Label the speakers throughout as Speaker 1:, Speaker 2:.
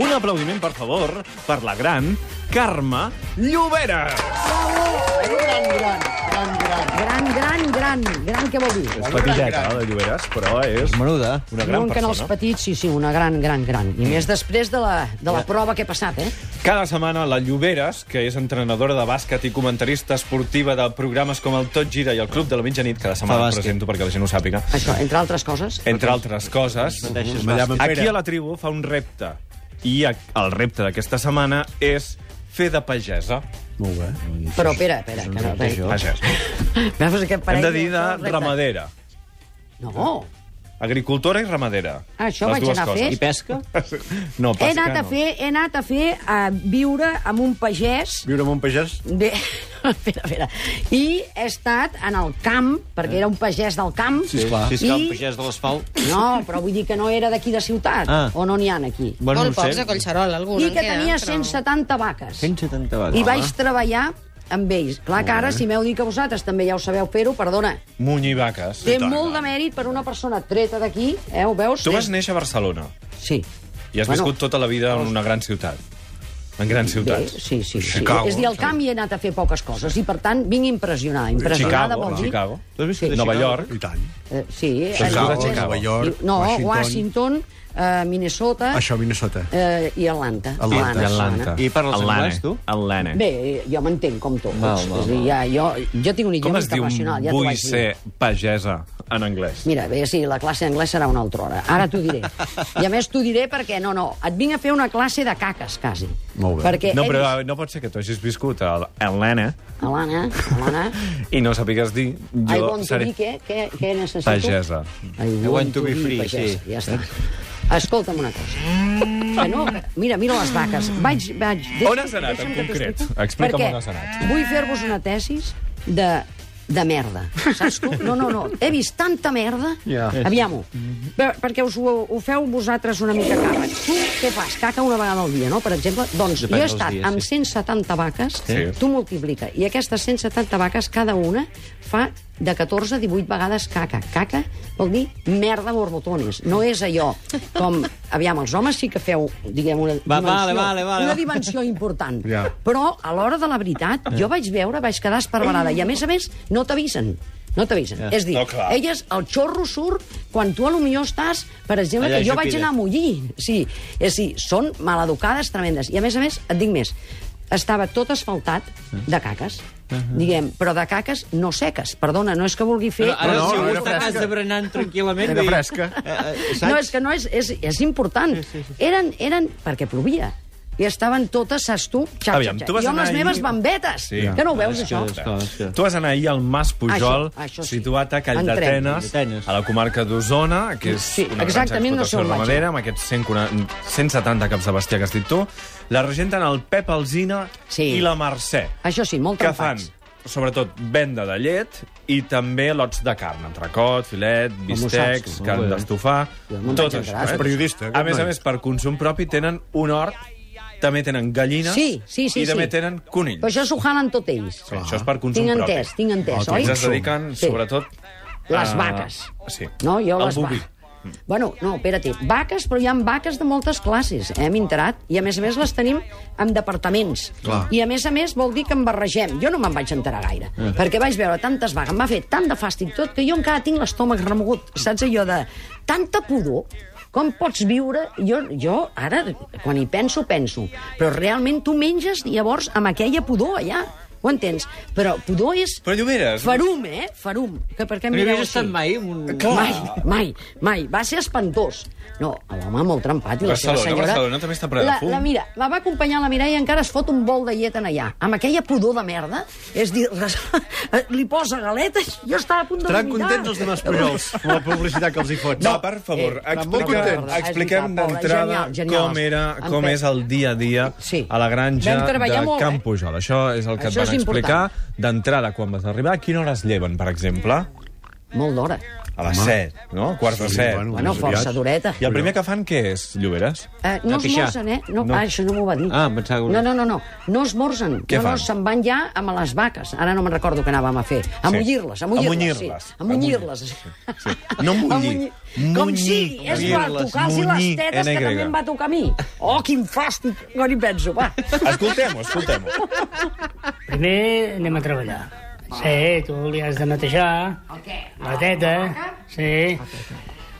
Speaker 1: Un aplaudiment, per favor, per la gran Carme Llobera.
Speaker 2: Gran, gran, gran, gran.
Speaker 3: Gran, gran, gran. Gran, què vol dir?
Speaker 1: És petiteta, eh, de Lloberes, però és
Speaker 4: Menuda.
Speaker 1: una
Speaker 3: No
Speaker 1: gran
Speaker 3: en els
Speaker 1: persona.
Speaker 3: petits, sí, sí, una gran, gran, gran. I més després de la, de la prova que he passat, eh?
Speaker 1: Cada setmana la Lloberes, que és entrenadora de bàsquet i comentarista esportiva de programes com el Tot Gira i el Club de la Mitjanit, cada
Speaker 4: Fa
Speaker 1: setmana el
Speaker 4: bàsquet.
Speaker 1: presento perquè la gent ho sàpiga,
Speaker 3: Això, entre altres coses.
Speaker 1: entre altres coses,
Speaker 4: Deixes
Speaker 2: Ballam amb
Speaker 1: aquí
Speaker 2: Pere.
Speaker 1: a la tribu fa un repte. I a- el repte d'aquesta setmana és fer de pagesa.
Speaker 2: Molt bé.
Speaker 3: Però, espera, espera. Que no, espera.
Speaker 1: Pagesa.
Speaker 3: Veus que
Speaker 1: Hem
Speaker 3: parell
Speaker 1: de dir
Speaker 3: no és el
Speaker 1: de
Speaker 3: repte.
Speaker 1: ramadera.
Speaker 3: No,
Speaker 1: Agricultora i ramadera.
Speaker 3: Ah, això
Speaker 1: Les
Speaker 3: vaig
Speaker 1: dues
Speaker 3: anar a
Speaker 1: coses.
Speaker 4: I pesca?
Speaker 1: No,
Speaker 3: he
Speaker 1: pesca
Speaker 3: anat a
Speaker 1: no.
Speaker 3: fer, he anat a fer a viure amb un pagès
Speaker 2: Viure amb un pagès?
Speaker 3: Bé, espera, espera. I he estat en el camp, perquè era un pagès del camp.
Speaker 4: Sí, esclar.
Speaker 3: I...
Speaker 4: Sí, esclar, un pagès de l'asfalt.
Speaker 3: No, però vull dir que no era d'aquí de ciutat,
Speaker 4: Ah.
Speaker 3: on no n'hi ha aquí.
Speaker 4: Bueno, no
Speaker 5: Molt
Speaker 4: ho
Speaker 5: pocs
Speaker 4: sé.
Speaker 5: a Collserola, algun.
Speaker 3: I
Speaker 5: en
Speaker 3: que
Speaker 5: queda,
Speaker 3: tenia
Speaker 5: però-
Speaker 3: 170 vaques.
Speaker 4: 170 vegades.
Speaker 3: I vaig treballar amb ells. Clar que ara, si m'heu dit que vosaltres també ja ho sabeu fer-ho, perdona,
Speaker 1: Muny i vaques.
Speaker 3: té molt de mèrit per una persona treta d'aquí, eh, ho veus?
Speaker 1: Tu
Speaker 3: Té-
Speaker 1: vas néixer a Barcelona
Speaker 3: Sí.
Speaker 1: i has
Speaker 3: Bueno,
Speaker 1: viscut tota la vida en una gran ciutat. En grans
Speaker 3: Bé,
Speaker 1: ciutats.
Speaker 3: Eh, sí, sí, sí.
Speaker 1: Chicago.
Speaker 3: És a dir, al camp hi he anat a fer poques coses i, per tant, vinc impressionada. Impressionada
Speaker 1: Chicago,
Speaker 3: vol dir...
Speaker 1: Chicago.
Speaker 4: Tu has viscut a
Speaker 1: Nova
Speaker 4: Chicago?
Speaker 1: York.
Speaker 2: I tant.
Speaker 3: Eh, sí,
Speaker 1: Chicago,
Speaker 3: a Londres,
Speaker 1: Chicago.
Speaker 2: Nova York,
Speaker 3: no,
Speaker 2: Washington.
Speaker 3: Washington, eh, Minnesota
Speaker 2: Això a Minnesota.
Speaker 3: eh, i Atlanta.
Speaker 2: Atlanta.
Speaker 1: I
Speaker 3: Atlanta.
Speaker 4: I parles anglès, tu?
Speaker 1: Atlanta.
Speaker 3: Bé, eh, jo m'entenc com tots.
Speaker 4: Val, val,
Speaker 3: és a dir, ja, jo, jo tinc un
Speaker 1: Com
Speaker 3: idioma
Speaker 1: es diu
Speaker 3: internacional, ja t'ho
Speaker 1: vull
Speaker 3: vaig dir.
Speaker 1: ser pagesa en anglès?
Speaker 3: Mira, bé, sí, la classe d'anglès serà una altra hora. Ara t'ho diré. I a més t'ho diré perquè, no, no, et vinc a fer una classe de caques, quasi.
Speaker 2: Molt bé.
Speaker 3: Perquè
Speaker 1: No,
Speaker 3: he
Speaker 1: però eh, no pot ser que tu hagis viscut a Atlanta
Speaker 3: vist... Alana, Alana,
Speaker 1: i no sàpigues dir...
Speaker 3: I
Speaker 1: Jo
Speaker 3: want to
Speaker 1: seré
Speaker 3: be què? Què, què necessito?
Speaker 1: pagesa.
Speaker 3: I want, to be free, pagès.
Speaker 4: sí.
Speaker 3: Ja està. Escolta'm una cosa. Que no, que- mira, mira les vaques. Vaig, vaig...
Speaker 1: On has anat, en
Speaker 3: deixa'm que
Speaker 1: concret?
Speaker 3: t'expliqui,
Speaker 1: Explica'm
Speaker 3: perquè
Speaker 1: on has anat.
Speaker 3: Vull fer-vos una tesis de, de merda, saps tu? No, no, no. He vist tanta merda.
Speaker 2: Ja.
Speaker 3: Aviam-ho.
Speaker 4: Mhm.
Speaker 3: Per, perquè us ho, ho feu vosaltres una mica càrrec. Tu què fas? Caca una vegada al dia, no? Per exemple, doncs
Speaker 4: Depèn
Speaker 3: jo he
Speaker 4: dels
Speaker 3: estat
Speaker 4: dies,
Speaker 3: amb
Speaker 4: sí.
Speaker 3: 170 vaques,
Speaker 1: Sí.
Speaker 3: tu multiplica, i aquestes 170 vaques, cada una fa de 14 a 18 vegades caca. Caca vol dir merda borbotones. No és allò com... Aviam, els homes sí que feu, diguem, una
Speaker 4: Va,
Speaker 3: dimensió,
Speaker 4: vale, vale, vale.
Speaker 3: una dimensió important.
Speaker 2: Ja.
Speaker 3: Però, a l'hora de la veritat, jo vaig veure, vaig quedar esparverada. I, a més a més, no t'avisen. No t'avisen. És a dir,
Speaker 1: No, clar.
Speaker 3: elles, el xorro surt quan tu a lo millor estàs, per exemple,
Speaker 4: Allà,
Speaker 3: que jo
Speaker 4: Jupiter.
Speaker 3: vaig anar a mullir. Sí, és a dir, són maleducades tremendes. I a més a més, et dic més, estava tot asfaltat de caques. Diguem, però de caques no seques. Perdona, no és que vulgui fer...
Speaker 4: No, ara
Speaker 2: No, no,
Speaker 4: si algú
Speaker 2: era
Speaker 4: està a casa
Speaker 2: fresca.
Speaker 4: berenant tranquil·lament...
Speaker 2: Era
Speaker 4: i-
Speaker 2: fresca.
Speaker 4: Eh, eh,
Speaker 3: No,
Speaker 4: Saps?
Speaker 3: és que no és, és, és important. Eren, eren perquè plovia. I estaven totes, saps tu, xap,
Speaker 1: Aviam,
Speaker 3: xap,
Speaker 1: tu
Speaker 3: xap.
Speaker 1: vas
Speaker 3: Jo amb
Speaker 1: anar
Speaker 3: les
Speaker 1: ahir-
Speaker 3: meves bambetes.
Speaker 1: Sí. Ah,
Speaker 3: Que no ho veus, això?
Speaker 4: és clar, és clar.
Speaker 1: Tu vas anar ahir al Mas Pujol,
Speaker 3: Això, això sí.
Speaker 1: situat a
Speaker 3: En tren.
Speaker 1: Calldetenes,
Speaker 4: Calldetenes.
Speaker 1: a la comarca d'Osona, que és
Speaker 3: Sí,
Speaker 1: una
Speaker 3: exactament
Speaker 1: granja
Speaker 3: no sé on
Speaker 1: d'explotació
Speaker 3: vaig
Speaker 1: ramadera, amb aquests 140, 170 caps de bestiar que has dit tu. La regenten el Pep Alzina
Speaker 3: Sí.
Speaker 1: i la Mercè.
Speaker 3: Això sí, molt
Speaker 1: que fan,
Speaker 3: trempats.
Speaker 1: sobretot, venda de llet i també lots de carn, entrecot, filet,
Speaker 3: ho saps, eh?
Speaker 1: bistecs,
Speaker 3: tu?
Speaker 1: carn
Speaker 4: Molt bé.
Speaker 1: d'estofar...
Speaker 3: Jo me'n
Speaker 1: Tot
Speaker 3: vaig
Speaker 1: això,
Speaker 3: enterar,
Speaker 1: eh?
Speaker 3: és
Speaker 2: periodista,
Speaker 1: A
Speaker 2: aquest
Speaker 1: més a
Speaker 2: noi.
Speaker 1: més, per consum propi tenen un hort, també tenen gallines
Speaker 3: Sí, sí, sí,
Speaker 1: i també
Speaker 3: sí.
Speaker 1: tenen conills.
Speaker 3: Però això s'ho jalen tot ells.
Speaker 1: Sí, això és per consum
Speaker 3: Tinc
Speaker 1: propi.
Speaker 3: entès, tinc entès,
Speaker 1: Ells
Speaker 3: oi?
Speaker 1: es dediquen,
Speaker 3: Sí.
Speaker 1: sobretot...
Speaker 3: Les
Speaker 1: a-
Speaker 3: vaques.
Speaker 1: Sí.
Speaker 3: No, jo
Speaker 1: El
Speaker 3: les va-
Speaker 1: boví.
Speaker 3: Bueno, no, espera't. Vaques, però hi ha vaques de moltes classes, eh, hem enterat. I a més a més les tenim en departaments.
Speaker 2: Clar.
Speaker 3: I a més a més vol dir que en barregem. Jo no me'n vaig enterar gaire,
Speaker 1: Eh.
Speaker 3: perquè vaig veure tantes vaques, em va fer tant de fàstic tot que jo encara tinc l'estómac remogut. Saps allò de tanta pudor com pots viure? Jo, jo ara, quan hi penso, penso. Però realment tu menges llavors amb aquella pudor allà. Ho entens? Però pudor és...
Speaker 1: Però Lloberes...
Speaker 3: Farum, eh? Farum. Que per què em
Speaker 4: No hi
Speaker 3: mireu
Speaker 4: havies
Speaker 3: així?
Speaker 4: estat mai en un...
Speaker 3: Mai, mai, mai. Va ser espantós. No, l'home molt trampat i la seva
Speaker 1: Barcelona,
Speaker 3: senyora...
Speaker 1: Barcelona també està plena de
Speaker 3: la,
Speaker 1: fum.
Speaker 3: La, mira, la va acompanyar la Mireia i encara es fot un bol de llet en allà. Amb aquella pudor de merda, és dir, res, li posa galetes, jo estava a punt de
Speaker 2: Estaran
Speaker 3: vomitar.
Speaker 2: contents els de Mas Pujols amb la publicitat que els hi fots.
Speaker 1: No, per favor,
Speaker 3: eh, però molt
Speaker 1: explica,
Speaker 3: contents.
Speaker 1: expliquem
Speaker 3: És veritat,
Speaker 1: d'entrada
Speaker 3: genial, genial.
Speaker 1: com era,
Speaker 3: En
Speaker 1: com
Speaker 3: Pep.
Speaker 1: és el dia a dia
Speaker 3: Sí.
Speaker 1: a la granja
Speaker 3: Vam treballar
Speaker 1: de
Speaker 3: molt, eh?
Speaker 1: Can Pujol. Això és el que
Speaker 3: Això
Speaker 1: et
Speaker 3: és
Speaker 1: van
Speaker 3: important.
Speaker 1: explicar. D'entrada, quan vas arribar, a quina hora es lleven, per exemple?
Speaker 3: molt d'hora.
Speaker 1: A les 7, no? Quarts de
Speaker 2: Sí,
Speaker 1: 7.
Speaker 2: bueno.
Speaker 3: Bueno,
Speaker 2: més
Speaker 3: força
Speaker 2: Doncs aviat.
Speaker 3: dureta.
Speaker 1: I el primer que fan què és, Lloberes?
Speaker 3: Eh, no
Speaker 4: No pixar.
Speaker 3: esmorzen, eh? No,
Speaker 1: No.
Speaker 3: no. Ah, això no m'ho va dir.
Speaker 4: Ah, em pensava que ho-
Speaker 3: No, no, no, no. No esmorzen.
Speaker 1: Què
Speaker 3: no, no,
Speaker 1: fan?
Speaker 3: se'n van ja amb les vaques. Ara no me'n recordo què anàvem a fer. A
Speaker 1: Sí.
Speaker 3: mullir-les, a
Speaker 1: A
Speaker 3: mullir-les.
Speaker 1: munyir-les.
Speaker 3: Sí. A mullir-les.
Speaker 1: Sí. No mullir,
Speaker 3: A munyir. Com
Speaker 1: munyir,
Speaker 3: sigui, és per
Speaker 1: munyir-les,
Speaker 3: tocar-los les
Speaker 1: munyir,
Speaker 3: tetes que
Speaker 1: NY.
Speaker 3: també em va tocar a mi. Oh, quin fàstic! No n'hi penso, va.
Speaker 1: Escoltem-ho, escoltem-ho.
Speaker 5: Primer anem a treballar. Sí, tu li has de netejar
Speaker 3: Okay.
Speaker 5: la teta. Sí.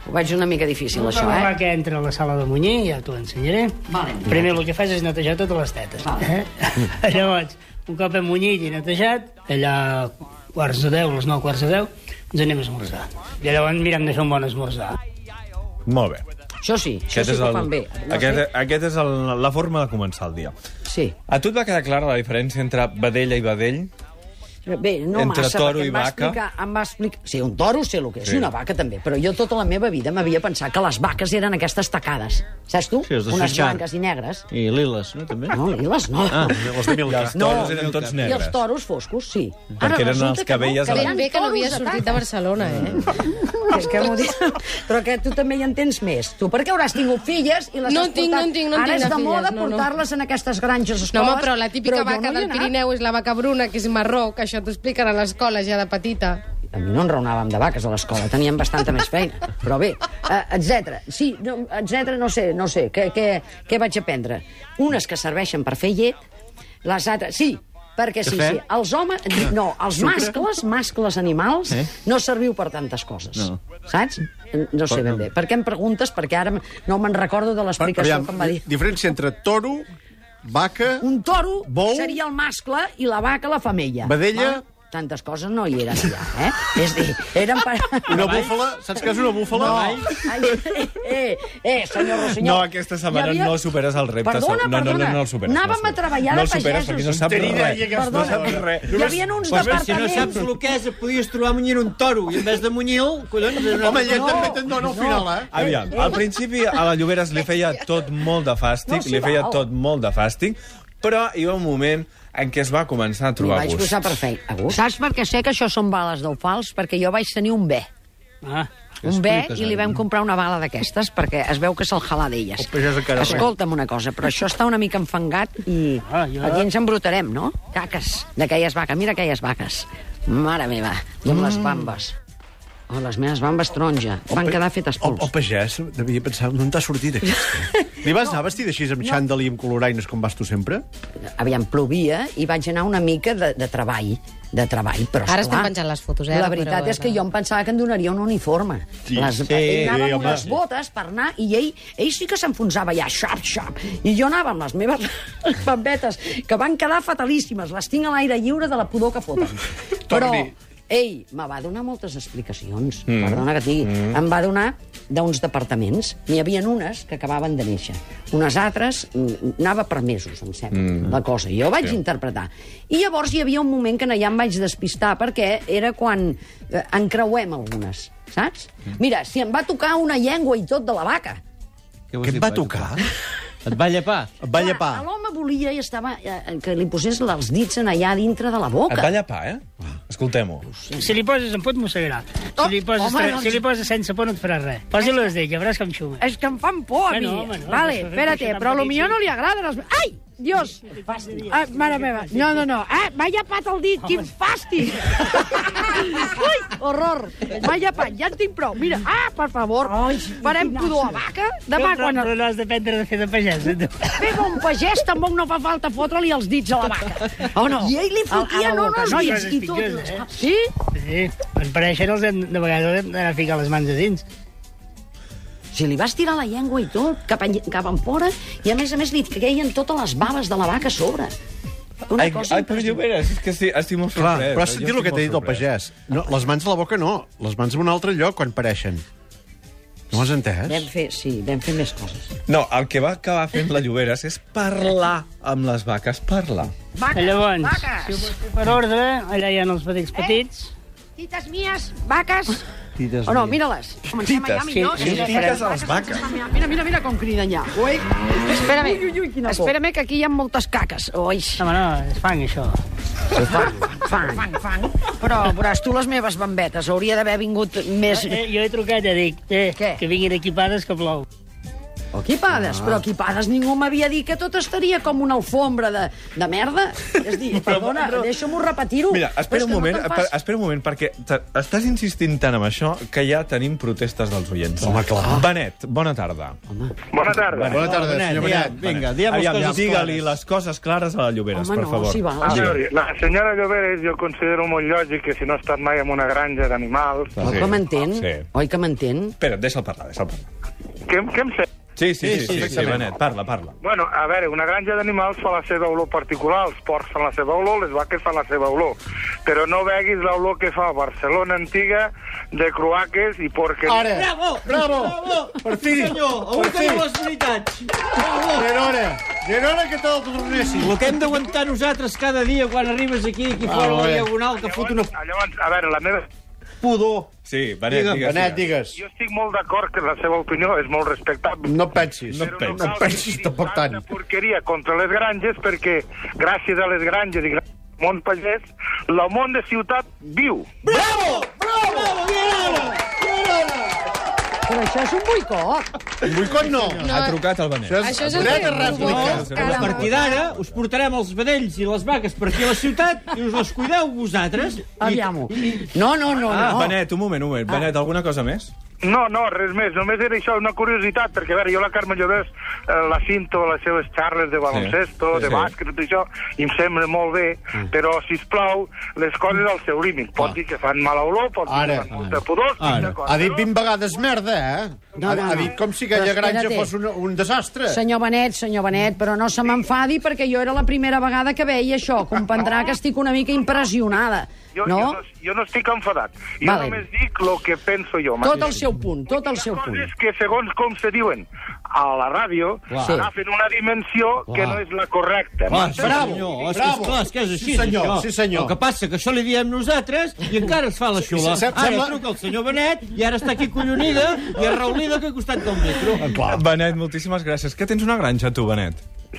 Speaker 3: Ho veig una mica difícil, això,
Speaker 5: Però
Speaker 3: eh?
Speaker 5: va que entra a la sala de munyir, ja t'ho ensenyaré.
Speaker 3: Vale.
Speaker 5: Primer el que fas és netejar totes les tetes.
Speaker 3: Vale.
Speaker 5: Eh? Llavors, un cop hem munyit i netejat, allà quarts de deu, les nou quarts de deu, ens anem a esmorzar. I llavors mirem de fer un bon esmorzar.
Speaker 1: Molt bé.
Speaker 3: Això sí, això sí que ho fan bé. No
Speaker 1: aquest,
Speaker 3: sé.
Speaker 1: aquest és el, la forma de començar el dia.
Speaker 3: Sí.
Speaker 1: A tu et va quedar clara la diferència entre vedella i vedell?
Speaker 3: Bé, no
Speaker 1: Entre
Speaker 3: massa,
Speaker 1: toro
Speaker 3: perquè em
Speaker 1: i
Speaker 3: va
Speaker 1: vaca.
Speaker 3: Explicar, em va explicar... Sí, un toro sé el que és,
Speaker 1: Sí.
Speaker 3: sí. i una vaca també, però jo tota la meva vida m'havia pensat que les vaques eren aquestes tacades, saps tu?
Speaker 4: Sí, els de
Speaker 3: Unes
Speaker 4: Sitjar.
Speaker 3: blanques i negres.
Speaker 4: I liles, no, també?
Speaker 3: No, i les no. Ah,
Speaker 2: Els de
Speaker 1: I
Speaker 2: Milka.
Speaker 1: els toros eren tots
Speaker 3: I els
Speaker 1: negres.
Speaker 3: toros foscos, sí.
Speaker 1: Perquè eren
Speaker 3: resulta
Speaker 1: els que
Speaker 3: no,
Speaker 1: veies
Speaker 6: Que
Speaker 1: a la-
Speaker 3: hi ha
Speaker 6: ben bé que no
Speaker 3: toros
Speaker 6: havia
Speaker 3: de
Speaker 6: sortit de
Speaker 3: taca.
Speaker 6: Barcelona, eh?
Speaker 3: És que m'ho dic... Però que tu també hi entens més. Tu per què hauràs tingut filles i les
Speaker 6: No
Speaker 3: has
Speaker 6: en tinc,
Speaker 3: portat...
Speaker 6: no en tinc, no en
Speaker 3: Ara
Speaker 6: tinc
Speaker 3: és
Speaker 6: de
Speaker 3: de moda
Speaker 6: filles, no, no.
Speaker 3: portar-les en aquestes granges
Speaker 6: No,
Speaker 3: escoles.
Speaker 6: home, però la típica
Speaker 3: però jo
Speaker 6: vaca
Speaker 3: no hi he
Speaker 6: del
Speaker 3: anat.
Speaker 6: Pirineu és la vaca bruna, que és marró, que això t'ho expliquen a l'escola ja de petita.
Speaker 3: A mi no enraonàvem de vaques a l'escola, teníem bastanta més feina. Però bé, eh, etc. Sí, no, etc. no sé, no sé, què, què, què vaig aprendre? Unes que serveixen per fer llet, les altres... Sí, perquè sí,
Speaker 4: Cafè?
Speaker 3: sí. Els homes... No, els mascles, mascles animals, eh? no serviu per tantes coses. No. Saps? No sé ben bé. Per què em preguntes? Perquè ara no me'n recordo de l'explicació que em va dir.
Speaker 2: diferència entre toro, vaca...
Speaker 3: Un toro
Speaker 2: Bou?
Speaker 3: seria el mascle i la vaca la femella.
Speaker 2: Vedella?
Speaker 3: Ah, Tantes coses no hi eren ja, eh? És a dir, eren per...
Speaker 2: Una búfala? Saps què és una búfala?
Speaker 3: Ai, eh, eh, senyor Rossinyol.
Speaker 1: No, aquesta setmana no superes el repte,
Speaker 3: Perdona,
Speaker 1: segur. No, no, no,
Speaker 3: perdona.
Speaker 1: no el superes, no el
Speaker 3: Anàvem a
Speaker 1: superes.
Speaker 3: treballar
Speaker 1: No
Speaker 3: de
Speaker 1: el superes,
Speaker 3: pagesos.
Speaker 1: perquè no saps
Speaker 2: Tenir idea
Speaker 1: res.
Speaker 2: que
Speaker 1: No
Speaker 3: Perdona,
Speaker 1: saps res.
Speaker 3: hi havia uns
Speaker 4: Pues bé, si no
Speaker 3: departaments...
Speaker 4: saps el que és, et podies trobar munyint un toro i en vez de munyir-lo, collons... és una-
Speaker 2: Home, llet també te'n dona al final, eh?
Speaker 1: Aviam, al principi a la Lloberes li feia tot molt de fàstic,
Speaker 3: No s'hi
Speaker 1: li feia
Speaker 3: val.
Speaker 1: tot molt de fàstic, però hi va un moment en què es va començar a
Speaker 3: M'hi
Speaker 1: trobar
Speaker 3: vaig
Speaker 1: gust.
Speaker 3: posar per fer. A gust. Saps per què sé que això són bales d'ofals? Perquè jo vaig tenir un bé.
Speaker 5: Ah.
Speaker 3: Un bé
Speaker 4: Expliques,
Speaker 3: i li
Speaker 4: ara.
Speaker 3: vam comprar una bala d'aquestes perquè es veu que se'l jalà d'elles.
Speaker 2: pagès encara res.
Speaker 3: Escolta'm una cosa, però això està una mica enfangat i
Speaker 5: Ah, ja.
Speaker 3: aquí ens embrutarem, no? Caques, d'aquelles vaques, mira aquelles vaques. Mare meva, i amb les bambes. Oh, les meves bambes taronja. Van quedar fetes
Speaker 2: El,
Speaker 3: pols.
Speaker 2: el pagès devia pensar on t'ha sortit aquesta. Li vas anar vestida així amb xandall i amb coloraines com vas tu sempre?
Speaker 3: aviam, plovia i vaig anar una mica de, de treball de treball, però
Speaker 6: Ara
Speaker 3: esclar,
Speaker 6: estem penjant les fotos, eh,
Speaker 3: La
Speaker 6: la
Speaker 3: veritat
Speaker 6: Pere
Speaker 3: és que
Speaker 6: Boada.
Speaker 3: jo em pensava que em donaria un uniforme. Sí, les,
Speaker 2: sí,
Speaker 3: ell anava
Speaker 2: sí,
Speaker 3: amb
Speaker 2: home.
Speaker 3: unes botes per anar i ell, ell sí que s'enfonsava ja, xap, xap. I jo anava amb les meves bambetes, que van quedar fatalíssimes. Les tinc a l'aire lliure de la pudor que foten. però
Speaker 2: Torni.
Speaker 3: ell me va donar moltes explicacions, mm. perdona que et digui. Mm. Em va donar d'uns departaments. N'hi havia unes que acabaven de néixer. Unes altres mm, anava per mesos, em sembla, mm. la cosa. Jo ho vaig sí. interpretar. I llavors hi havia un moment que allà em vaig despistar, perquè era quan eh, en creuem algunes, saps? Mira, si em va tocar una llengua i tot de la vaca.
Speaker 4: Què vols
Speaker 2: Què
Speaker 4: dir,
Speaker 2: et va
Speaker 4: vaca?
Speaker 2: tocar?
Speaker 4: Et va llepar?
Speaker 2: Et va
Speaker 3: Clar,
Speaker 2: llepar.
Speaker 3: L'home volia i estava, eh, que li posés els dits en allà dintre de la boca.
Speaker 1: Et va llepar, eh? Escoltem-ho.
Speaker 5: Si li poses en pot, mossegarà.
Speaker 3: Oh,
Speaker 5: Si li poses,
Speaker 3: home,
Speaker 5: tre-
Speaker 3: doncs-
Speaker 5: si li poses sense por, no et farà res. Posi-lo des d'ell, ja veuràs com xuma.
Speaker 3: És que em fan por, a mi.
Speaker 5: Bueno, home, no,
Speaker 3: vale,
Speaker 5: però això- això
Speaker 3: espérate,
Speaker 5: tan
Speaker 3: però a lo
Speaker 5: petit,
Speaker 3: millor
Speaker 5: sí.
Speaker 3: no li agraden els... Ai! Dios! Ah, mare meva. No, no, no. Ah, m'ha llepat el dit. Quin fàstic! Ui, horror. M'ha llepat. Ja en tinc prou. Mira, ah, per favor. Farem pudor a vaca. Demà,
Speaker 5: Però-
Speaker 3: quan...
Speaker 5: Però no has d'aprendre de fer de pagès, eh, tu.
Speaker 3: Bé, bon pagès, tampoc no fa falta fotre-li els dits a la vaca. O no? I ell li
Speaker 5: fotia, no, no, els dits i tot.
Speaker 3: eh? Sí?
Speaker 5: Sí, en pareixen els hem, de vegades els hem d'anar a ficar les mans a dins.
Speaker 3: Si li vas tirar la llengua i tot, cap, en, cap enfora, i a més a més li queien totes les baves de la vaca a sobre. Una
Speaker 1: Ai,
Speaker 3: cosa
Speaker 1: ai, però Lloberes, és que estic, estic molt
Speaker 2: Clar,
Speaker 1: sorprès. eh?
Speaker 2: però has
Speaker 1: Jo
Speaker 2: sentit el
Speaker 1: estic
Speaker 2: que t'ha
Speaker 1: molt
Speaker 2: dit el
Speaker 1: sorprès.
Speaker 2: pagès. No, les mans a la boca no, les mans en un altre lloc quan pareixen. No has
Speaker 3: Vam
Speaker 2: entès?
Speaker 3: fer, sí, vam fer més coses.
Speaker 1: No, el que va acabar fent la Lloberes és parlar amb les vaques, parlar.
Speaker 5: Vaques, Llavors, Eh? vaques. si ho vols fer per ordre, allà hi ha els petits petits.
Speaker 3: Tites mies, vaques,
Speaker 7: Tires
Speaker 3: O no,
Speaker 7: mil.
Speaker 3: mira-les. Comencem allà millor.
Speaker 5: sí, sí,
Speaker 4: Piques a les vaques.
Speaker 3: Mira, mira, mira com criden allà. Ui,
Speaker 6: Espérame.
Speaker 3: ui, ui, quina por. Espérame que aquí hi ha moltes caques. Ui,
Speaker 5: No, home, no, és fang, això.
Speaker 3: fang, fang, fang. Però veuràs tu les meves bambetes. Hauria d'haver vingut més...
Speaker 5: Eh, jo he trucat i dic eh,
Speaker 3: Què?
Speaker 5: que vinguin equipades que plou.
Speaker 3: Equipades, però equipades ningú m'havia dit que tot estaria com una alfombra de, de merda. És a dir, perdona, deixa'm-ho repetir-ho.
Speaker 1: Mira,
Speaker 3: Però
Speaker 1: espera
Speaker 3: és
Speaker 1: un
Speaker 3: que no
Speaker 1: moment,
Speaker 3: te'n
Speaker 1: no
Speaker 3: fas.
Speaker 1: espera un moment, perquè te- estàs insistint tant amb això que ja tenim protestes dels oients.
Speaker 2: Home, clar.
Speaker 1: Benet, bona tarda.
Speaker 8: Bona tarda.
Speaker 2: Bona tarda,
Speaker 4: Bona
Speaker 2: senyor
Speaker 4: nit.
Speaker 2: Benet.
Speaker 4: Vinga, diem les coses
Speaker 1: digue-li
Speaker 4: clares.
Speaker 1: les coses clares a la Lloberes,
Speaker 3: Home,
Speaker 1: per
Speaker 3: no,
Speaker 1: favor.
Speaker 3: si val.
Speaker 8: A
Speaker 3: Sí.
Speaker 8: veure, la senyora Lloberes jo considero molt lògic que si no ha estat mai en una granja d'animals...
Speaker 1: Clar.
Speaker 3: Oi
Speaker 1: Sí.
Speaker 3: que m'entén?
Speaker 1: Sí.
Speaker 3: Oi que m'entén?
Speaker 1: Espera, deixa'l parlar, deixa'l parlar.
Speaker 8: Què, què em sé?
Speaker 1: Sí, sí, sí, sí, sí, sí
Speaker 2: perfectament.
Speaker 1: Benet, parla, parla.
Speaker 8: Bueno, a veure, una granja d'animals fa la seva olor particular, els porcs fan la seva olor, les vaques fan la seva olor, però no veguis l'olor que fa Barcelona antiga de croaques i porqueries.
Speaker 2: Ara,
Speaker 4: Bravo!
Speaker 2: Bravo! Per fi!
Speaker 4: Sí, senyor, avui
Speaker 2: Per fi!
Speaker 4: teniu les veritats.
Speaker 2: Gerona! Gerona, que te'l tornessis!
Speaker 4: El que hem d'aguantar nosaltres cada dia quan arribes aquí, aquí
Speaker 2: Ah,
Speaker 4: fora, a la
Speaker 2: bé.
Speaker 4: Diagonal, que fot una...
Speaker 8: Llavors, llavors, a veure, la meva...
Speaker 2: Pudor!
Speaker 1: Sí, Benet,
Speaker 2: Digue'm,
Speaker 1: digues.
Speaker 2: Benet, digues.
Speaker 8: Jo estic molt d'acord que la seva opinió és molt respectable.
Speaker 2: No et pensis.
Speaker 1: No et
Speaker 8: Però
Speaker 1: pensis.
Speaker 8: cal
Speaker 2: No pensis
Speaker 8: dir
Speaker 2: tampoc
Speaker 8: tanta
Speaker 2: tant.
Speaker 8: porqueria contra les granges perquè gràcies a les granges i gràcies al món pagès, el món de ciutat viu.
Speaker 3: Però això és un boicot.
Speaker 2: Un boicot no!
Speaker 1: Ha trucat el Benet.
Speaker 6: Això és el
Speaker 2: Benet,
Speaker 6: que-
Speaker 2: res,
Speaker 6: No,
Speaker 2: boicot.
Speaker 4: A partir d'ara us portarem els vedells i les vaques per aquí a la ciutat i us les cuideu vosaltres.
Speaker 3: Aviam-ho. No, no, no,
Speaker 1: Ah,
Speaker 3: no.
Speaker 1: Benet, un moment, un moment. Benet, alguna cosa més?
Speaker 8: No, no, res més. Només era això, una curiositat, perquè, a veure, jo la Carme Llobés eh, la cinto a les seves xarres de baloncesto,
Speaker 1: Sí.
Speaker 8: de
Speaker 1: Sí.
Speaker 8: bàsquet, tot això, i em sembla molt bé, però, si us plau, les coses al seu límit. Pot dir que fan mala olor, pot dir
Speaker 2: Ara,
Speaker 8: que fan molta pudor, estic
Speaker 2: Ara.
Speaker 8: d'acord,
Speaker 2: Ha dit
Speaker 8: però-
Speaker 2: 20 vegades merda, eh?
Speaker 3: No, no,
Speaker 2: Ha- Ha
Speaker 3: no.
Speaker 2: dit com si aquella
Speaker 3: Però
Speaker 2: granja
Speaker 3: espera't.
Speaker 2: fos un, un desastre.
Speaker 3: Senyor Benet, senyor Benet, però no se m'enfadi perquè jo era la primera vegada que veia això. Comprendrà que estic una mica impressionada,
Speaker 8: Jo
Speaker 3: no?
Speaker 8: Jo, no, jo no estic enfadat. Jo
Speaker 3: Vale.
Speaker 8: només dic el que penso jo.
Speaker 3: Tot el seu punt, tot el seu punt.
Speaker 8: Coses que, segons com se diuen a la ràdio,
Speaker 3: Clar.
Speaker 8: agafen una dimensió que no és la correcta.
Speaker 4: Clar, sí,
Speaker 2: Bravo,
Speaker 4: senyor, és que,
Speaker 2: bravo.
Speaker 4: és clar, és que és així,
Speaker 2: Sí, senyor,
Speaker 4: això.
Speaker 2: sí, senyor.
Speaker 4: El que passa que això li diem nosaltres i encara es fa la xula.
Speaker 2: sí,
Speaker 4: Ara
Speaker 2: sembla-
Speaker 4: truca el senyor Benet i ara està aquí collonida i arraulida que ha costat del metro.
Speaker 2: Ah,
Speaker 1: Ah. Benet, moltíssimes gràcies. Que tens una granja, tu, Benet?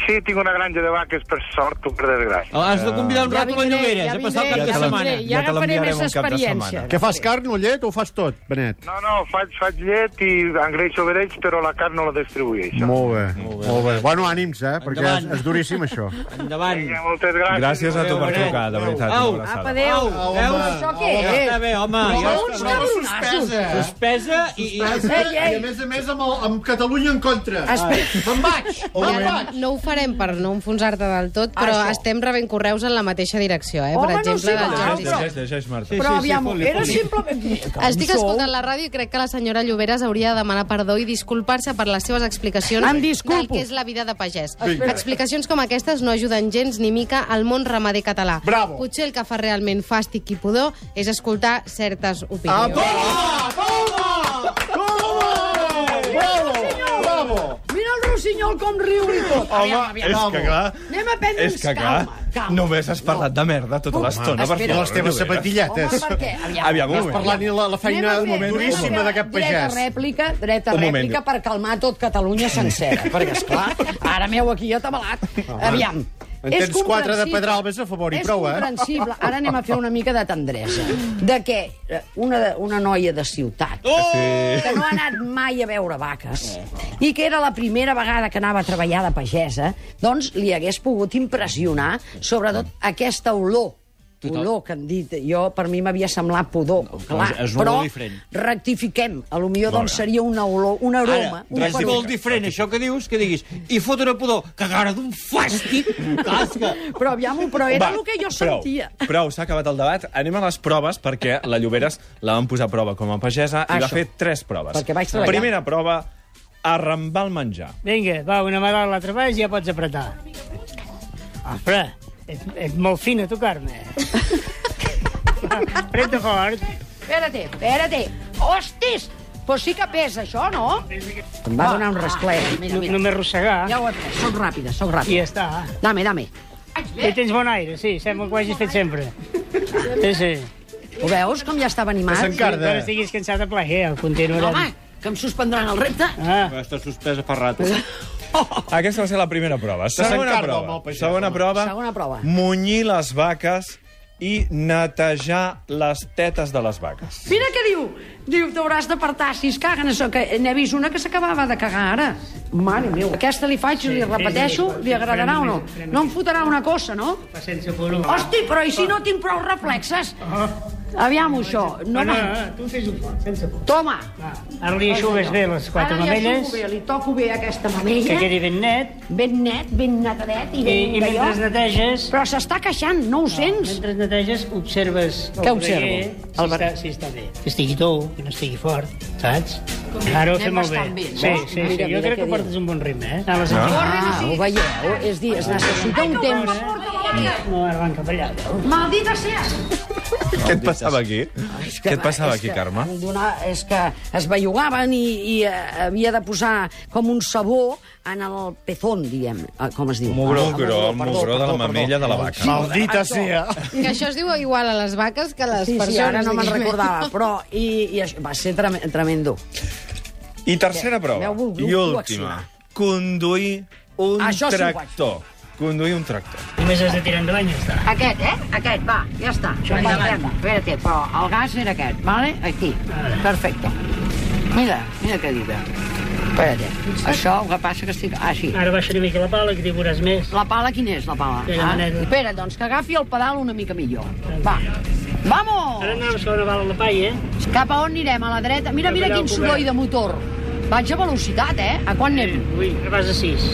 Speaker 8: Sí, tinc una granja de vaques, per sort o per desgràcia.
Speaker 4: Oh, Has de convidar un
Speaker 6: Ja
Speaker 4: rato a la
Speaker 6: vindré,
Speaker 4: Lloberes,
Speaker 6: ja
Speaker 4: a passar el
Speaker 6: vindré,
Speaker 4: cap de
Speaker 6: ja
Speaker 4: setmana.
Speaker 6: vindré. Ja
Speaker 1: te
Speaker 6: agafaré
Speaker 1: l'enviarem
Speaker 6: més
Speaker 1: un cap de setmana.
Speaker 6: experiència.
Speaker 2: Què fas, carn o llet o ho fas tot, Benet?
Speaker 8: No, no, faig, faig llet i engreixo vedells, però la carn no la distribueixo.
Speaker 2: Molt bé, molt bé. Bueno, ànims, eh? Perquè és,
Speaker 4: Endavant.
Speaker 2: és duríssim, això.
Speaker 4: Endavant.
Speaker 8: Vinga, moltes gràcies.
Speaker 1: Gràcies a tu per
Speaker 4: Benet.
Speaker 1: trucar, de veritat.
Speaker 4: Au.
Speaker 1: una abraçada.
Speaker 3: Apa, adéu.
Speaker 4: Au,
Speaker 3: Veus,
Speaker 4: home.
Speaker 3: això què
Speaker 4: Home,
Speaker 3: és?
Speaker 4: Està bé, home. Ja
Speaker 3: Prou,
Speaker 4: està.
Speaker 3: prou.
Speaker 4: Sospesa i... i...
Speaker 3: Ei,
Speaker 2: I a
Speaker 3: ei,
Speaker 2: més a més amb, el, amb Catalunya en contra.
Speaker 3: espera.
Speaker 2: Me'n vaig! Me'n
Speaker 6: Ja,
Speaker 2: vaig!
Speaker 6: no ho farem per no enfonsar-te del tot, però
Speaker 3: Ah, Això.
Speaker 6: estem rebent correus en la mateixa direcció, eh? Per
Speaker 3: Home, no
Speaker 6: exemple,
Speaker 3: s'hi
Speaker 6: del
Speaker 3: val,
Speaker 6: Jordi.
Speaker 3: però-
Speaker 1: Llegeix, llegeix, Marta.
Speaker 3: Però
Speaker 4: sí,
Speaker 3: aviam,
Speaker 4: fot-li,
Speaker 3: era
Speaker 4: fot-li.
Speaker 3: simplement...
Speaker 6: Estic escoltant la ràdio i crec que la senyora Lloberes hauria de demanar perdó i disculpar-se per les seves explicacions
Speaker 3: Em disculpo.
Speaker 6: del que és la vida de pagès.
Speaker 2: Vinga.
Speaker 6: Explicacions com aquestes no ajuden gens ni mica al món ramader català.
Speaker 2: Bravo.
Speaker 6: Potser el que fa realment fàstic i pudor és escoltar certes
Speaker 2: Ah,
Speaker 3: Ah,
Speaker 6: opinions.
Speaker 2: Bravo! Bravo!
Speaker 3: Mira el rossinyol com riu i tot.
Speaker 1: Home, és que clar...
Speaker 3: Anem a prendre
Speaker 1: És que clar,
Speaker 3: calma, calma.
Speaker 1: només has parlat de merda tota l'estona. per
Speaker 2: I
Speaker 1: favor,
Speaker 2: les
Speaker 1: Lloberes.
Speaker 3: Home,
Speaker 2: teves sapatilletes.
Speaker 3: per què? Aviam.
Speaker 1: Aviam, un
Speaker 2: Has parlat
Speaker 1: moment.
Speaker 2: ni la, la feina
Speaker 3: Anem a fer
Speaker 2: duríssima
Speaker 3: dreta-
Speaker 2: d'aquest pagès.
Speaker 3: Dreta rèplica, dreta
Speaker 1: Un moment.
Speaker 3: rèplica per calmar tot Catalunya sencera. perquè, esclar, ara m'heu aquí atabalat. Aviam.
Speaker 2: En
Speaker 3: és
Speaker 2: tens quatre de
Speaker 3: comprensible-
Speaker 2: Pedralbes a favor i
Speaker 3: és
Speaker 2: prou, eh?
Speaker 3: comprensible. Ara anem a fer una mica de tendresa. De que eh, una, de- una noia de ciutat, oh! que no ha anat mai a veure vaques, i que era la primera vegada que anava a treballar de pagesa, doncs li hagués pogut impressionar, sobretot, aquesta olor olor que han dit, jo per mi m'havia semblat pudor, clar,
Speaker 4: és un
Speaker 3: però
Speaker 4: olor diferent.
Speaker 3: rectifiquem, a lo millor doncs seria una olor, un aroma,
Speaker 4: Ara,
Speaker 3: un
Speaker 4: res
Speaker 3: perfum.
Speaker 4: molt diferent, això que dius, que diguis, i fot una pudor, que cara d'un fàstic, casca.
Speaker 3: Però aviam, però era
Speaker 1: Va,
Speaker 3: el que jo
Speaker 1: prou,
Speaker 3: sentia.
Speaker 1: Prou, s'ha acabat el debat. Anem a les proves, perquè la Lloberes la van posar a prova com a pagesa i va
Speaker 3: Això.
Speaker 1: fer tres proves.
Speaker 3: Perquè vaig treballar.
Speaker 1: Primera prova, arrambar el menjar.
Speaker 5: Vinga, va, una mà dalt, l'altra baix, ja pots apretar. Ofre, ets, ets molt fina, tu, Carme. Va, Apreta fort.
Speaker 3: Espérate, espérate. Hostis! Però sí que pesa, això, no? Em va donar un rasclet. Ah. Mira,
Speaker 5: No-
Speaker 3: mira.
Speaker 5: Només arrossegar
Speaker 3: Ja ho he pres. Soc ràpida, soc
Speaker 5: i
Speaker 3: ràpida.
Speaker 5: ja està.
Speaker 3: Dame, dame.
Speaker 5: I tens bon aire, sí, sembla que ho hagis fet sempre. Sí, sí.
Speaker 3: Ho veus, com ja estava animat?
Speaker 2: Desencarna.
Speaker 5: Però estiguis cansat de plaer, el continuarem.
Speaker 3: Home, que em suspendran el repte?
Speaker 5: Ah,
Speaker 4: Està suspesa per rato.
Speaker 1: Aquesta va ser la primera prova. Segona
Speaker 2: s'encarna amb
Speaker 1: prova.
Speaker 2: el pagès,
Speaker 1: Segona
Speaker 2: home.
Speaker 1: prova.
Speaker 3: Segona prova.
Speaker 1: Munyir les vaques i netejar les tetes de les vaques.
Speaker 3: Mira què diu. Diu, t'hauràs d'apartar si es caguen. Això, que n'he vist una que s'acabava de cagar ara. Mare meu. Aquesta li faig, li repeteixo, li agradarà o no? No em fotrà una cosa, no?
Speaker 5: va sense por. home.
Speaker 3: Hosti, però i si no tinc prou reflexes? Aviam això. No,
Speaker 5: Ah, No, no,
Speaker 3: me-
Speaker 5: no, tu fes-ho fort, sense por.
Speaker 3: Toma.
Speaker 5: Va, ara eh. li aixugues bé les quatre
Speaker 3: Ara li
Speaker 5: mamelles,
Speaker 3: aixugo bé, li toco bé aquesta
Speaker 5: que
Speaker 3: mamella.
Speaker 5: quedi ben net,
Speaker 3: Ben net, ben netedet i
Speaker 5: i,
Speaker 3: ben
Speaker 5: i
Speaker 3: d'allò.
Speaker 5: mentre neteges...
Speaker 3: Però s'està queixant, no ho sents?
Speaker 5: Mentre neteges, observes... el
Speaker 3: Què
Speaker 5: braguer,
Speaker 3: observo?
Speaker 5: Si, està, si està bé. Que estigui tou, que no estigui fort, saps? Ara ho
Speaker 3: anem
Speaker 5: fem molt bé.
Speaker 3: bastant bé, no?
Speaker 5: Sí, sí,
Speaker 3: Mira,
Speaker 5: sí.
Speaker 3: mira què
Speaker 5: Jo crec que
Speaker 3: diu.
Speaker 5: portes un bon ritme, eh? A les no?
Speaker 3: Ah, ho veieu? És dir, es necessita un temps...
Speaker 5: no, ara van cap allà.
Speaker 3: Maldita sea!
Speaker 1: Què et passava aquí?
Speaker 3: És que-
Speaker 1: Què et passava
Speaker 3: és
Speaker 1: aquí,
Speaker 3: que
Speaker 1: Carme?
Speaker 3: em Donar, és que es bellugaven i, i eh, havia de posar com un sabó en el pezón, diguem, eh, com es diu.
Speaker 1: Mugró
Speaker 3: Ah,
Speaker 1: gros, el
Speaker 3: perdó,
Speaker 1: mugró de la
Speaker 3: perdó,
Speaker 1: mamella de la
Speaker 2: Sí,
Speaker 1: vaca.
Speaker 2: Maldita sea.
Speaker 6: Que això es diu igual a les vaques que a les
Speaker 3: Sí,
Speaker 6: persones.
Speaker 3: sí, ara no me'n
Speaker 6: diguem-ne.
Speaker 3: recordava, però i, i això, va ser trem tremendo.
Speaker 1: I tercera prova.
Speaker 3: M'heu volgut
Speaker 1: I última.
Speaker 3: coaccionar.
Speaker 1: Conduir un
Speaker 3: Això sí ho vaig
Speaker 1: tractor. Conduir un tractor.
Speaker 5: Només has de tirar endavant i ja està.
Speaker 3: Aquest, eh? Aquest, va, ja està. Això
Speaker 5: Endavant.
Speaker 3: Espérate, però el gas era aquest, vale? Aquí. Perfecte. Mira, mira què diu. Espérate. Això, el que passa que estic... Ah, sí.
Speaker 5: Ara baixa una mica la pala, que t'hi veuràs més.
Speaker 3: La pala, quina és, la pala?
Speaker 5: Aquella maneta.
Speaker 3: Espera, doncs que agafi el pedal una mica millor. Va. Vamos!
Speaker 5: Ara anem a segona bala a la palla, eh?
Speaker 3: Cap a on anirem? A la dreta? Mira, mira
Speaker 5: Cap allà
Speaker 3: quin
Speaker 5: al
Speaker 3: soroll
Speaker 5: cobert.
Speaker 3: de motor. Vaig a velocitat, eh? A quan anem?
Speaker 5: Ui, ara vas a 6.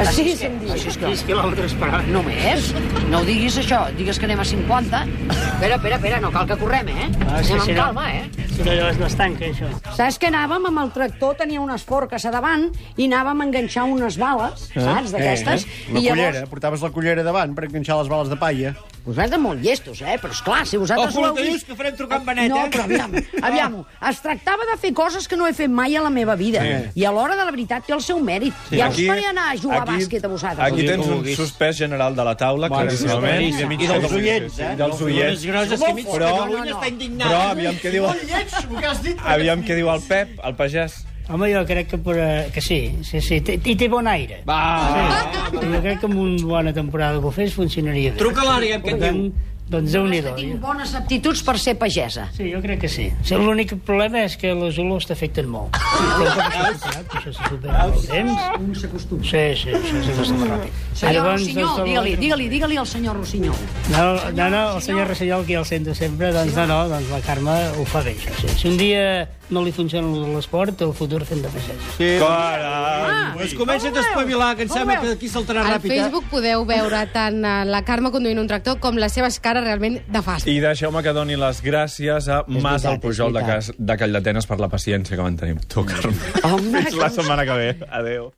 Speaker 3: A 6, em dius. A
Speaker 5: 6 quilòmetres per hora.
Speaker 3: Només? No ho diguis, això. Digues que anem a 50. Espera, espera, espera, no cal que correm, eh?
Speaker 5: Ah,
Speaker 3: anem
Speaker 5: sí, sí,
Speaker 3: amb
Speaker 5: no.
Speaker 3: calma, eh?
Speaker 5: Si no, llavors no es tanca, això.
Speaker 3: Saps que anàvem amb el tractor, tenia unes forques a davant, i anàvem a enganxar unes bales,
Speaker 5: Ah,
Speaker 3: saps,
Speaker 5: eh,
Speaker 3: d'aquestes,
Speaker 2: La
Speaker 3: i llavors...
Speaker 2: cullera, portaves la cullera davant per enganxar les bales de paia.
Speaker 3: Vosaltres molt llestos, eh? Però, esclar, si vosaltres
Speaker 4: Ojo,
Speaker 3: ho heu
Speaker 4: que dius
Speaker 3: vist-
Speaker 4: que farem trucar amb Benet,
Speaker 3: no,
Speaker 4: eh?
Speaker 3: però aviam, aviam, es tractava de fer coses que no he fet mai a la meva vida. I a l'hora de la veritat té el seu mèrit. Sí. Ja us faré anar a jugar a bàsquet a vosaltres.
Speaker 1: Aquí
Speaker 2: El dia
Speaker 1: tens
Speaker 2: que
Speaker 1: un
Speaker 2: vulguis.
Speaker 1: suspès general de la taula, claríssimament.
Speaker 2: suspès.
Speaker 1: mig
Speaker 2: I dels
Speaker 1: segle.
Speaker 2: oients, eh?
Speaker 1: I dels
Speaker 4: Unes
Speaker 1: oients.
Speaker 4: grosses que mig
Speaker 1: Però-
Speaker 4: Catalunya
Speaker 3: no, no.
Speaker 4: està indignada.
Speaker 1: Però aviam què diu... Aviam què diu el Pep, el pagès.
Speaker 5: Home, jo crec que, per, que sí, sí, sí. Té- I té bon aire.
Speaker 4: Va,
Speaker 5: Jo crec que amb una bona temporada que ho fes funcionaria bé.
Speaker 4: truca a l'àrea, què
Speaker 5: Per
Speaker 4: et
Speaker 5: tant,
Speaker 4: diu?
Speaker 5: doncs déu nhi
Speaker 1: eh?
Speaker 3: Tinc bones aptituds per ser pagesa.
Speaker 5: Sí, jo crec que sí. sí L'únic problema és que les olors t'afecten molt. Però com que s'ha superat, Això se supera amb el temps. Un s'acostuma. Sí, sí, això s'acostuma ràpid.
Speaker 3: Senyor
Speaker 5: Llavors,
Speaker 3: Rossinyol,
Speaker 5: doncs, el-
Speaker 3: digue-li, digue-li, digue-li al senyor Rossinyol.
Speaker 5: No, no, no, el senyor Rosselló, que ja el sento sempre, doncs no, no, doncs la Carme ho fa bé, això, sí. Si un dia no li funciona lo de l'esport, té el futur fent de pagès.
Speaker 3: Ah!
Speaker 1: Caram!
Speaker 4: Es comença a despavilar, que em sembla que aquí saltarà
Speaker 6: Al
Speaker 4: ràpid. eh?
Speaker 6: Facebook podeu veure tant eh, la Carme conduint un tractor com les seves cares realment de fàstic.
Speaker 1: I deixeu-me que doni les gràcies a Mas
Speaker 3: veritat,
Speaker 1: al Pujol
Speaker 3: és
Speaker 1: de,
Speaker 3: veritat.
Speaker 1: cas, de Calldetenes per la paciència que mantenim. Tu, Carme.
Speaker 3: Home,
Speaker 1: Fins la setmana que ve. Adéu.